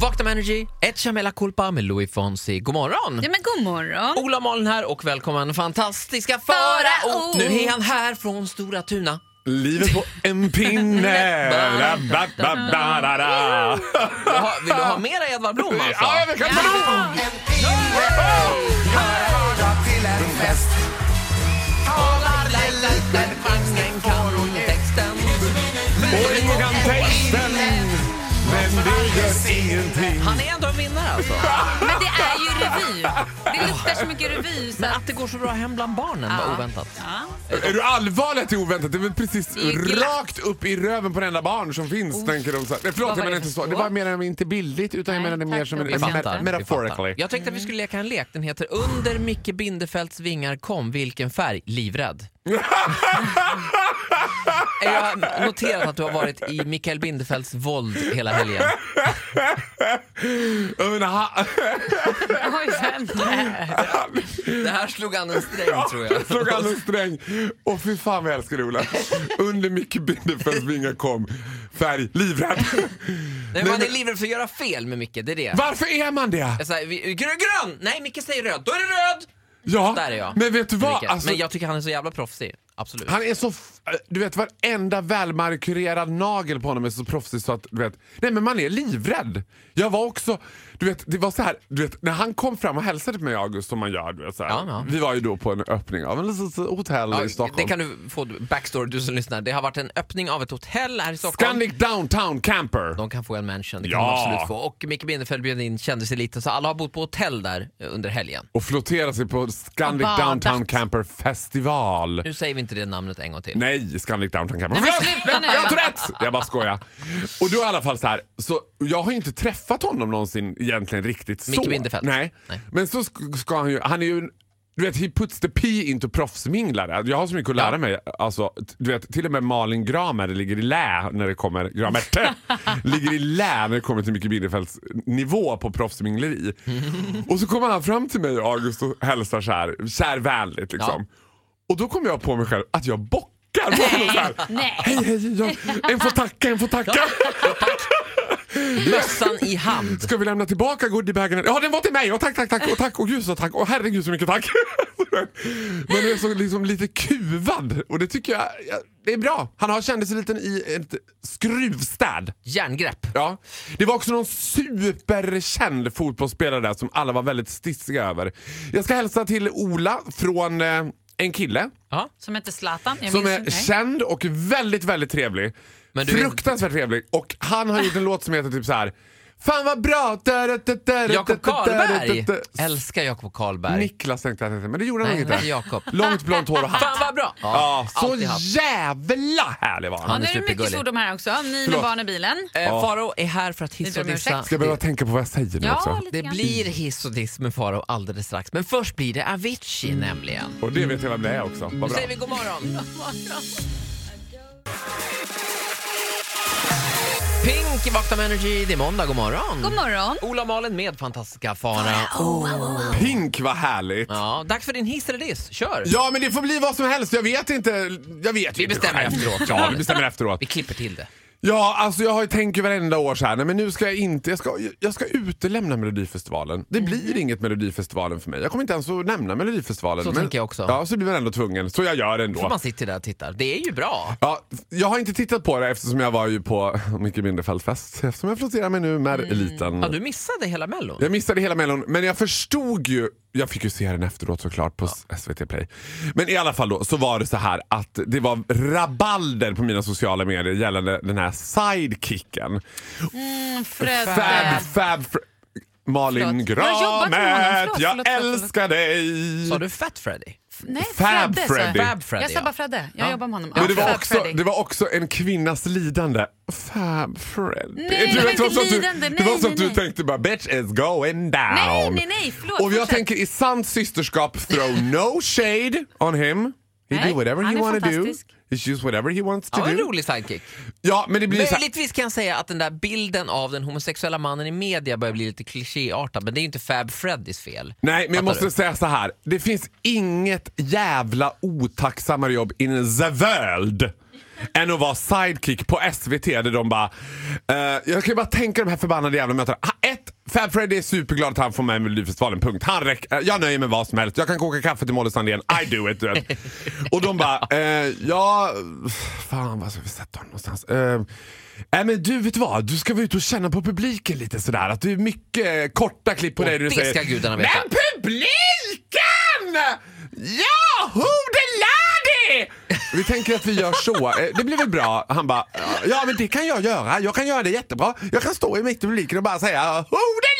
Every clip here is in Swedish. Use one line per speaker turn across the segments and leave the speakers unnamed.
Vakna med Energy, ett Chamela Culpa med Louis Fonsi. God morgon!
Ja, men god morgon.
Ola Malin här och välkommen fantastiska Farao!
Farao!
Nu är han här från Stora Tuna.
Livet på en pinne. La, ba, ba, ba, da, da.
Vill du ha, vill du ha mera Edvard Blom alltså?
Ja, men kan man nog! Och ingen kan texten. Men det gör ingenting.
Han är ändå en vinnare alltså.
Men det är ju revy. Det luktar så mycket revy. Så
Men
att,
att det går så bra hem bland barnen var oväntat.
Är du allvarlig att det är oväntat? Det är väl precis
Det är ju glatt.
rakt upp i röven på varenda barn som finns, tänker de så här. Nej, förlåt,
Vad
jag
var det
menar inte
för
så. Det
så?
var mer inte bildligt, utan jag
Nej,
menade mer
tack,
som en,
jag
en
Vi
fattar.
me-
fattar. vi fattar.
metaphorically.
Jag tänkte att vi skulle leka en lek. Den heter Under Micke Bindefelds vingar kom vilken färg? Livrädd. Jag har noterat att du har varit i Mikael Bindefelds våld hela helgen.
Jag menar, ha-
oj, vänta.
Det här slog an en sträng tror jag.
Jag slog an en sträng. Och fy fan vad jag älskar Ola. Under Micke Bindefelds vingar kom färg livrädd.
Nej, man är livrädd för att göra fel med Micke, det är det.
Varför är man det?
Jag säger, vi- grön, grön! Nej, Micke säger röd. Då är det röd!
Ja,
Där är jag.
men vet du vad?
Micke.
Alltså,
Men jag tycker han är så jävla proffsig. Absolut.
Han är så... f- eh, Du vet varenda välmarkurerad nagel på honom är så proffsig så att du vet... Nej men man är livrädd. Jag var också... Du vet, det var så här, du vet, när han kom fram och hälsade på mig i August som man gör. Du vet, så här.
Ja, ja.
Vi var ju då på en öppning av en litet hotell
Ja,
i Stockholm.
det kan du få backstory du som lyssnar. Det har varit en öppning av ett hotell här i Stockholm.
Scandic Downtown Camper.
De kan få en mansion, det kan
Ja.
de absolut få. Och Micke Bindefeld bjöd in kändiseliten, så alla har bott på hotell där eh, under helgen.
Och flottera sig på Scandic
Och badat.
Downtown Camper Festival.
Nu säger vi inte det namnet en gång till.
Nej, Scandic Downtown Camper.
men
Förlåt!
sluta nu.
Jag har Tourettes! Jag bara skojar. Och då i alla fall så här, så jag har ju inte träffat honom någonsin egentligen riktigt så.
Micke Bindefeld.
Nej.
Nej.
Men så sk- ska han ju, han är ju en du vet, he puts the pee into proffsminglare. Jag har så mycket att lära
Ja.
mig. Alltså, t- du vet, till och med Malin Gramer ligger i lä när det kommer... Gramer, ligger i lä när det kommer till Micke Bindefelds nivå på proffsmingleri. Och så kommer han fram till mig och August och hälsar så här, kärvänligt liksom. Och då kom jag på mig själv att jag bockar på honom så här.
Nej.
Hej, hej, jag, en får tacka, en får tacka.
Mössan i hand.
Ska vi lämna tillbaka goodiebagen? Ja, den var till mig! Och tack, tack, tack! Och tack, och gud så tack! Och herregud så mycket tack! Men det är så liksom lite kuvad och det tycker jag, ja, det är bra. Han har kändiseliten i ett skruvstäd.
Järngrepp.
Ja. Det var också någon superkänd fotbollsspelare där som alla var väldigt stissiga över. Jag ska hälsa till Ola från eh, en kille
Som heter Zlatan. Jag
som
minns
är
inte. Nej.
känd och väldigt, väldigt trevlig.
Men du-
Fruktansvärt trevlig. Och han har gjort en låt som heter typ så här. Fan vad bra! Da, da, da, da, da, da,
Jakob
da, da,
Karlberg.
da, da.
Älskar Jakob Karlberg.
Niklas tänkte jag att han hette, men det gjorde han
Nej,
nog
inte
inte.
Jakob.
Långt blont hår och
Fan
hatt.
vad bra!
Ja, så
alltid haft.
jävla härlig var
Ja,
han.
nu är det mycket
supergullig.
svordom här också. Ni med
Förlåt.
barn i bilen.
Eh, Faro är här för att hissa och
Det är
dissa.
ursäkt.
Ska jag behöva tänka på vad jag säger nu också?
Ja, lite
Det
grann.
blir hiss och diss med Faro alldeles strax. Men först blir det Avicii
Mm.
nämligen.
Och det vet jag vem det är också. Vad
Nu
bra.
säger vi god morgon. Pink i Vakna med Energy. Det är måndag. God morgon.
God morgon.
Ola Malen med fantastiska Fara.
Pink vad härligt.
Ja, dags för din hiss eller diss. Kör!
Ja men det får bli vad som helst, jag vet inte. Jag vet
Vi bestämmer efteråt.
Ja, vi bestämmer efteråt.
Vi klipper till det.
Ja, alltså jag har ju tänkt ju varenda år så här, nej men nu ska jag inte, jag ska, jag ska utelämna Melodifestivalen. Det
Mm.
blir inget Melodifestivalen för mig. Jag kommer inte ens att nämna Melodifestivalen.
Så
men,
tänker jag också.
Ja, så blir man ändå tvungen. Så jag gör ändå.
För man sitter där och tittar. Det är ju bra.
Ja, jag har inte tittat på det eftersom jag var ju på mycket mindre fältfest. Eftersom jag flotterar mig nu med eliten.
Mm. Ja, du missade hela mellon.
Jag missade hela Mellon, men jag förstod ju. Jag fick ju se den efteråt såklart på SVT Play. Men i alla fall då så var det så här att det var rabalder på mina sociala medier gällande den här sidekicken.
Fröde.
Oh, Fab, fab, fr- Malin
Förlåt. Jag har jobbat med
Gramet,
honom. Förlåt,
jag
förlåt, förlåt, förlåt.
älskar dig.
Sa du Fat Freddy?
Nej,
Fab
Fredde, sa jag.
Freddy.
Fab Freddy,
Jag sa
ja.
bara Fredde. Jag
Ja.
jobbar med honom.
Men
Ja,
det var,
Fab
också,
Freddy.
det var också en kvinnas lidande. Fab Freddy.
det var
vet,
inte
som att du,
lidande.
Det
Nej,
var som
nej,
att du
nej.
tänkte bara bitch is going down.
Nej, nej, nej. Förlåt.
Och jag
fortsätt.
tänker i sant systerskap throw no shade on him. He
Nej,
do whatever
han
he
är
wanna do.
fantastisk.
He choose whatever he wants to
Ja, en
do.
rolig sidekick.
Ja, men det blir så här,
Möjligtvis kan jag säga att den där bilden av den homosexuella mannen i media börjar bli lite klichéartad, men det är ju inte Fab Freddys fel.
Nej, men jag
Fattar
måste
du?
säga så här. Det finns inget jävla otacksammare jobb in the world än att vara sidekick på SVT där de bara... eh, jag kan ju bara tänka de här förbannade jävla mötena. Ha- Ett, Fab Freddy är superglad att han får med Melodifestivalen, punkt. Han räck, eh, jag nöjer mig med vad som helst. Jag kan koka kaffe till Molly Sandén. I do it, du vet. Och de bara, eh, ja... Fan, vad ska vi sätta honom någonstans? Eh, Nej men du vet vad, du ska vara ute och känna på publiken lite sådär. Att det är mycket eh, korta klipp på
Och
dig. där du
det
säger,
ska gudarna veta.
Men publiken! Ja, who the lady! Vi tänker att vi gör så. Eh, Det blir väl bra? Han bara, ja men det kan jag göra. Jag kan göra det jättebra. Jag kan stå i mitt i publiken och bara säga, who the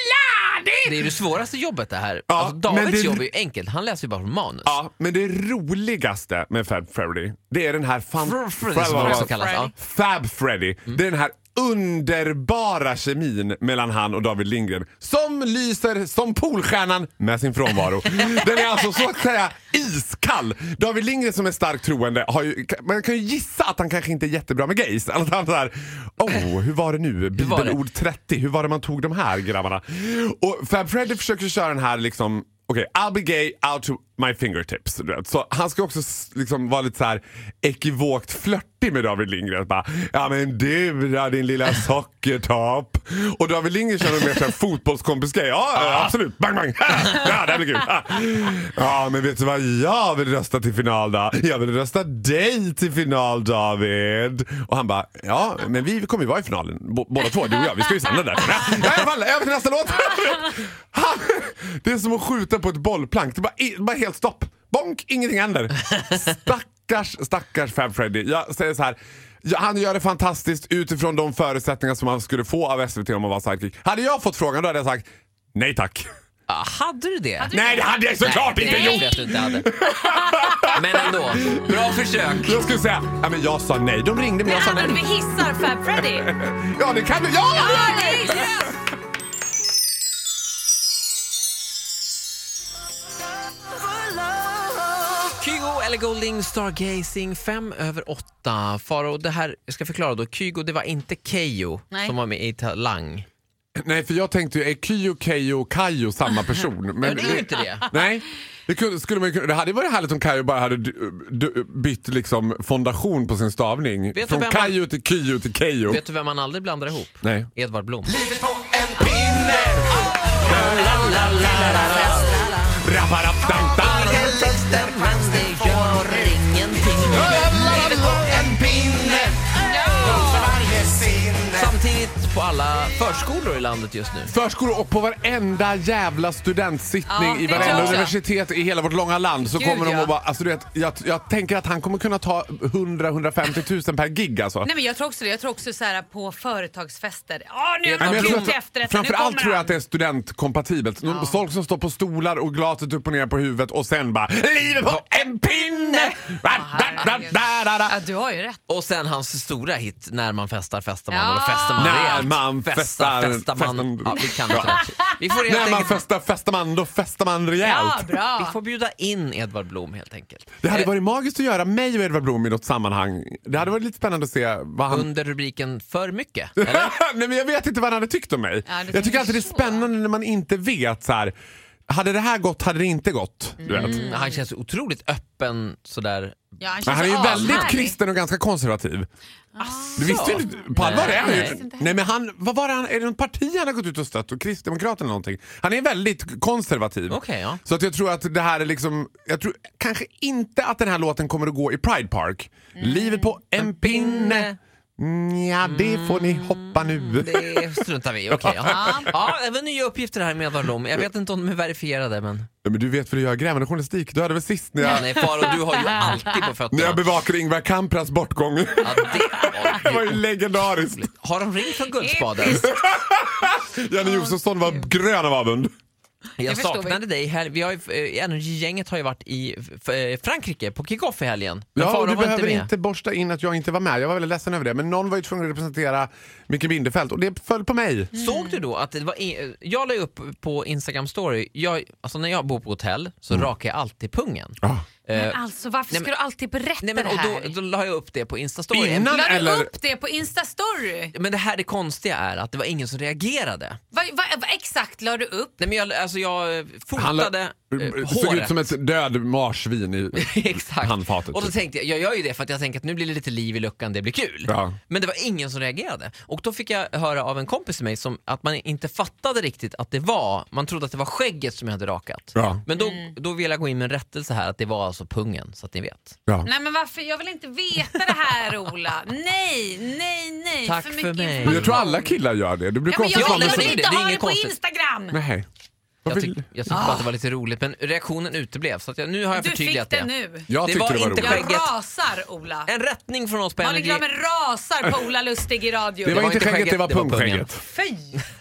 Det
lady!
är ju det svåraste jobbet det här.
Ja,
alltså, Davids
men det-
jobb är ju enkelt, han läser ju bara från manus.
Ja, men det roligaste med Fab Freddy, det är den här
Fr-
fan...
Freddy som han också kallas. Ja.
Fab Freddy. Det är den här underbara kemin mellan han och David Lindgren som lyser som Polstjärnan med sin frånvaro. Den är alltså så att säga iskall. David Lindgren som är starkt troende, har ju, man kan ju gissa att han kanske inte är jättebra med gays. Alltså han såhär, oh, hur var det nu?
var det?"
Bibelord 30, hur var det man tog de här grabbarna? Och Fab Freddy försöker köra den här liksom Okej, I'll be gay out to my fingertips. du vet. Så han ska också s- liksom vara lite så här ekivokt flörtig med David Lindgren. Bara, ja men du då din lilla sockertopp. Och David Lindgren känner mer såhär fotbollskompisgrej. Ja,
Ah.
ja absolut, bang bang. Ja, det här blir kul. Ja. Ja men vet du vad jag vill rösta till final då? Jag vill rösta dig till final David. Och han bara, ja men vi kommer ju vara i finalen. B- båda två, du och jag. Vi ska ju samla där. Ja i alla fall, över till nästa låt. Han, det är som att skjuta på ett bollplank. Det är bara, i- bara helt stopp. Bonk, ingenting händer. Stackars, stackars Fab Freddy. Jag säger så här. ja, Han gör det fantastiskt utifrån de förutsättningar som han skulle få av SVT om han var sidekick. Hade jag fått frågan då hade jag sagt nej tack.
Ah, hade du det?
Nej det hade jag såklart
Nej,
inte
det
gjort!
vet du inte hade. Men ändå, bra försök.
Jag skulle säga, ja, men jag sa nej. De ringde men jag sa
Men vi
nej.
hissar Fab Freddy.
Ja det kan du. Ja!
Ja, det är yes!
Kygo eller Golding Stargazing fem över åtta. Faro, det här, jag ska förklara då. Kygo, det var inte Keyyo
Nej.
som var med i Talang.
Nej för jag tänkte ju, är Kyo, Keyyo och Kayo samma person? Men
det är ju inte det.
Nej. Det, kunde, skulle man, ju kunna- det hade ju varit härligt om Kayo bara hade du, du, bytt liksom fondation på sin stavning.
du
Från
vem man-
Kayo till Kyo till Keyyo.
Vet du vem man aldrig blandar ihop?
Nej.
Edvard Blom. Samtidigt på alla förskolor i landet just nu.
Förskolor och på varenda jävla studentsittning
Ja,
i
det
varenda
tror jag.
universitet i hela vårt långa land så
Gud,
kommer de
ja.
och bara... Alltså, du vet, jag, jag tänker att han kommer kunna ta 100-150 000 per gig alltså.
Nej men jag tror också det. Jag tror också så här på företagsfester. Ja, nu har
Nej, men
man
jag tror
klippt
att-
efterrätten. Nu
Framförallt
kommer
tror jag att det
han.
är studentkompatibelt. Ja. Folk som står på stolar och glaset upp och ner på huvudet och sen bara Livet på en pinne! Da, da, da, da, da.
Ja, du har ju rätt.
Och sen hans stora hit, När man festar festar man.
Ja.
Och festar man
När
rejält.
man festar,
festar man.
festar-
Ja, vi kan inte.
Ja.
Vi får helt
När man
enkelt...
festar festar man, då festar man
Ja,
rejält.
Vi
bra.
får bjuda in Edvard Blom helt enkelt.
Det hade
Eh,
varit magiskt att göra mig och Edvard Blom i något sammanhang. Det hade varit lite spännande att se vad han...
Under rubriken För mycket. Eller?
Nej men jag vet inte vad han hade tyckt om mig.
Ja, det
jag tycker
är
alltid det är
så.
spännande när man inte vet så här. Hade det här gått, hade det inte gått? Du vet.
Mm.
Mm, Han känns otroligt öppen sådär.
Alltså, Ja, han,
Men
känns
han är ju väldigt
ashärlig.
kristen och ganska konservativ. Du visste ju inte- på allvar
Nej.
är han
Nej.
ju... Nej men han, vad var det han, är det något parti han har gått ut och stött? Och Kristdemokraterna eller någonting? Han är väldigt konservativ.
Okej, ja.
Så att jag tror att det här är liksom, jag tror kanske inte att den här låten kommer att gå i Pride Park. Livet på en pinne. Mm, ja, det får ni hoppa nu.
Det struntar vi i. Okej, ja. ja, även nya uppgifter här med Edvard Blom. Jag vet inte om de är verifierade men...
Ja, Men du vet väl hur jag är grävande journalistik? Du hade väl sist när jag,
Nej Faro, du har ju alltid på
när jag
fötterna.
bevakade Ingvar Kampras bortgång.
Ja, det...
Det var
Oj,
ju legendariskt.
har de ringt från Guldspaden?
Janne Josefsson var grön av avund.
Jag
förstår
saknade dig här. Vi har ju, eh, Energy-gänget har ju varit i f- eh, Frankrike på kick-off i helgen. Men
Ja,
Faro
och du
var
behöver
med.
inte, borsta in att jag inte var med. Jag var väldigt ledsen över det. Men någon var ju tvungen att representera Micke Bindefeld och det föll på mig.
Såg
Mm.
du då att det var... i- Jag la ju upp på Instagram story, jag, alltså när jag bor på hotell så rakar jag alltid pungen.
Mm. Ja.
Men alltså varför
nej, men-
ska du alltid berätta
Nej, men,
det
och
här?
då, då la jag upp det på Instastory.
Innan
La du
eller?
upp det på Instastory?
Men det här det konstiga är att det var ingen som reagerade.
Vad vad- vad exakt la du upp?
Nej, men jag, alltså, jag
Han la-
fotade eh,
såg
håret.
ut som ett död marsvin i
Exakt.
handfatet. typ.
Och då tänkte jag, jag gör ju det för att jag tänker att nu blir det lite liv i luckan, det blir kul.
Ja.
Men det var ingen som reagerade. Och då fick jag höra av en kompis till mig som, att man inte fattade riktigt att det var, man trodde att det var skägget som jag hade rakat.
Ja.
Men då,
Mm.
då vill jag gå in med en rättelse här, att det var alltså pungen, så att ni vet.
ja.
Nej men varför? Jag vill inte veta det här Ola. Nej, nej, nej.
Tack
för
för
mycket
mig.
information.
Men jag tror alla killar gör det. Det blir
Ja, men
konstigt
jag,
Ja,
om
vill-
man
jag
det
vill
är
inte
det. Det är
ha det
inget
på
konstigt.
Instagram.
Nej.
Jag,
Varför-
tyck, jag tyckte bara att det var lite roligt, men reaktionen uteblev. Så att jag, nu har jag
Ah. Du
förtydligat
fick
det.
det nu.
jag
Det
tyckte
var
det var,
inte
roligt.
skägg.
Jag
Skägget.
rasar Ola.
En rättning från oss på
Malin
Energy.
Gramer rasar på Ola Lustig i radio.
Det var inte skägget, det var
pungen.
pungskägget.
Fy!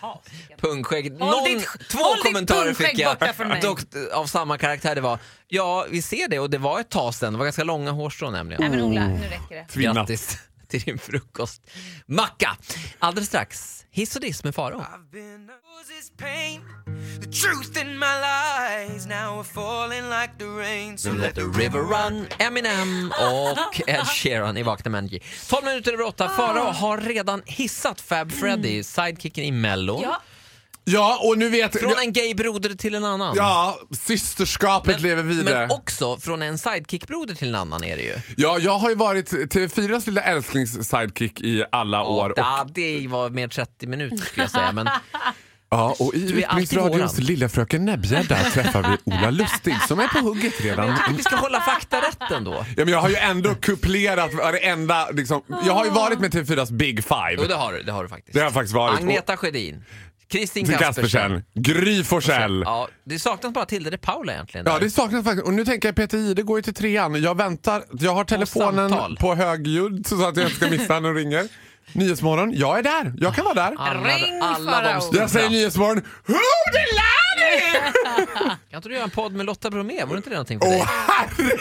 Pungskägg.
Håll
Någon,
ditt-
två
håll ditt
kommentarer
pungskägg
fick jag
borta från mig.
dock, eh, av samma karaktär. Det var ja, vi ser det och det var ett tag sedan. Det var ganska långa hårstrån nämligen.
Nej men Ola, nu räcker det.
Tvinnat.
Grattis till din frukostmacka. Alldeles strax, hiss och diss med Faro.
I've been this pain. The truth in my lies now are falling like the rain. So let the
River Run, Eminem och Ed Sheeran i Vakna med Energy. 12 minuter över
Ah.
8. Farao har redan hissat Fab Freddy, sidekicken i Mello.
Mm. Ja.
Ja, och nu vet...
Från en gay broder till en annan.
Ja, systerskapet lever vidare.
Men också från en sidekickbroder till en annan är det ju.
Ja, jag har ju varit TV4s lilla älsklings-sidekick i alla år. Och,
Ja, det var mer 30 minuter skulle jag säga. Men
ja, och i
alltid
Utbildningsradions
våran.
Lilla Fröken Näbbgädda träffar vi Ola Lustig som är på hugget redan.
vi ska hålla fakta rätt ändå.
Ja, men jag har ju ändå kuplerat varenda... Liksom, jag
Ah.
har ju varit med TV4s Big
Jo, det
Five.
har du, det har du faktiskt.
Det har jag faktiskt varit.
Agneta Sjödin, Kristin
Till
Kaspersen.
Kaspersen, Gry Forssell.
Ja, det saknas bara Tilde de Paula egentligen.
Ja,
där.
det saknas faktiskt. Och nu tänker jag PTI, det går ju till trean. Jag väntar, jag har telefonen
samtal.
på högljudd så att jag inte ska missa när de ringer. Nyhetsmorgon, jag är där. Jag kan vara där.
alla,
Ring
alla de
Farao.
stora.
Jag säger Nyhetsmorgon, Who the Lady!
Kan inte du göra en podd med Lotta Bromé? Vore inte det någonting för
Åh
dig?
herregud!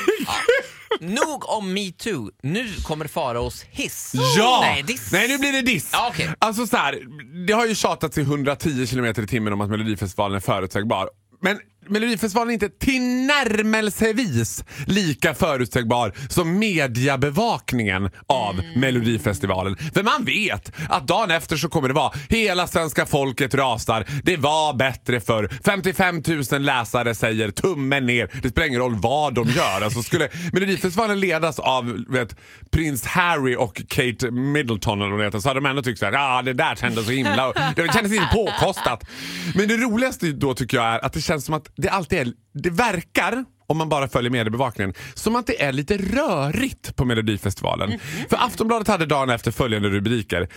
Nog om metoo. Nu kommer Faraos hiss.
Ja!
Nej, diss.
Nej, nu blir det diss.
Ja, okej.
Alltså så här, det har ju tjatats i 110 kilometer i timmen om att Melodifestivalen är förutsägbar. Men Melodifestivalen är inte tillnärmelsevis lika förutsägbar som mediebevakningen av
Mm.
Melodifestivalen. För man vet att dagen efter så kommer det vara hela svenska folket rasar. Det var bättre för 55 000 läsare säger tummen ner. Det spelar ingen roll vad de gör. Alltså skulle Melodifestivalen ledas av vet, prins Harry och Kate Middleton eller vad det heter, så hade de ändå tyckt såhär, ah, det där kändes så himla... Det kändes inte påkostat. Men det roligaste då tycker jag är att det känns som att det alltid är, det verkar om man bara följer mediebevakningen, som att det är lite rörigt på Melodifestivalen. För Aftonbladet hade dagen efter följande rubriker.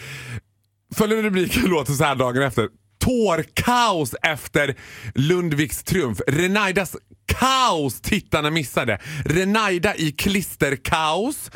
Följande rubriker låter så här dagen efter. Tårkaos efter Lundviks triumf. Renaidas kaos tittarna missade. Renaida i klisterkaos.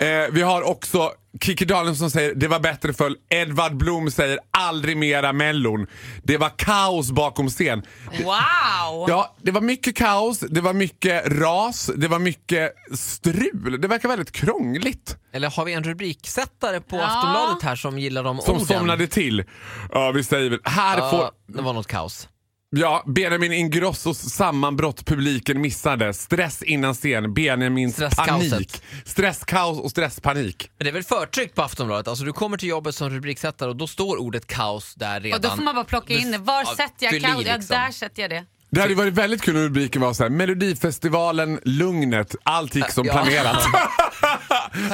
Eh, vi har också Kikki Danielsson säger det var bättre förr. Edvard Blom säger aldrig mera Mellon. Det var kaos bakom scen.
Wow!
Ja, det var mycket kaos, det var mycket ras, det var mycket strul. Det verkar väldigt krångligt.
Eller har vi en rubriksättare på Aftonbladet här som gillar de
Som
orden?
somnade till. Ja, vi säger väl, här får...
Ja, det var något kaos.
Ja, Benjamin Ingrossos sammanbrott publiken missade. Stress innan scen, Benjamins
Stresskaoset.
panik. Stresskaos och stresspanik.
Men det är väl förtryck på Aftonbladet? Alltså du kommer till jobbet som rubriksättare och då står ordet kaos där redan.
Och då får man bara plocka in det. Var
Ja,
sätter jag
fyll i
kaos? Ja,
liksom.
där sätter jag det.
Det hade ju varit väldigt kul om rubriken var så här, Melodifestivalen, lugnet, allt gick som
Ja. Ah.
planerat.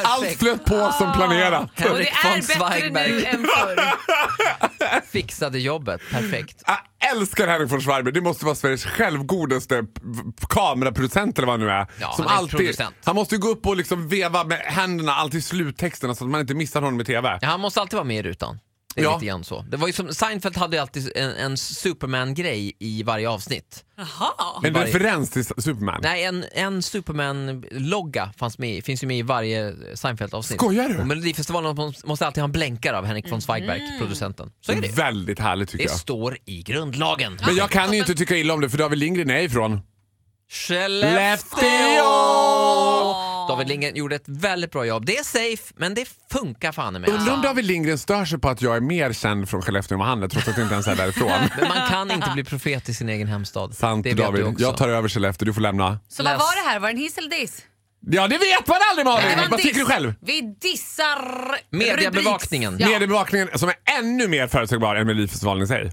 allt flöt på som planerat.
Och det
Henrik von
är bättre nu
Zweigbergk
än förr.
fixade jobbet, perfekt.
Jag älskar Henrik von Schwarber. Det måste vara Sveriges självgodaste p- p- kameraproducent eller vad han nu är.
Ja, han är producent.
han måste ju gå upp och liksom veva med händerna alltid i sluttexterna så att man inte missar honom i TV.
Ja, han måste alltid vara med i rutan. Det är
Ja.
lite grann så. Det var ju som, Seinfeld hade ju alltid en, en Superman-grej i varje avsnitt.
en
varje-
referens till Superman.
Nej, en, en Superman-logga fanns med, i- finns ju med i varje Seinfeld-avsnitt.
Skojar du?
Och Melodifestivalen måste- måste alltid ha en blänkare av Henrik von Zweigbergk,
Mm.
producenten. Så är det.
Väldigt härligt tycker
Det
jag.
står i grundlagen.
Men jag kan ju inte tycka illa om det för David Lindgren är ifrån.
Skellefteå!
Skellefteå!
Då David Lindgren gjorde ett väldigt bra jobb. Det är safe, men det funkar fan i mig. alltså.
Undrar om David Lindgren stör sig på att jag är mer känd från Skellefteå än vad han är trots att jag inte ens är därifrån.
Men man kan inte bli profet i sin egen hemstad.
Sant
det vet du
David,
också.
jag tar över Skellefteå, du får lämna.
Så
Läs.
vad var det här? Var det en hiss eller diss?
Ja det vet man aldrig
Det
Malin!
var en
Vad
diss.
tycker du själv?
Vi dissar
Mediebevakningen.
rubriks- Ja.
Mediebevakningen som är ännu mer förutsägbar än Melodifestivalen i sig.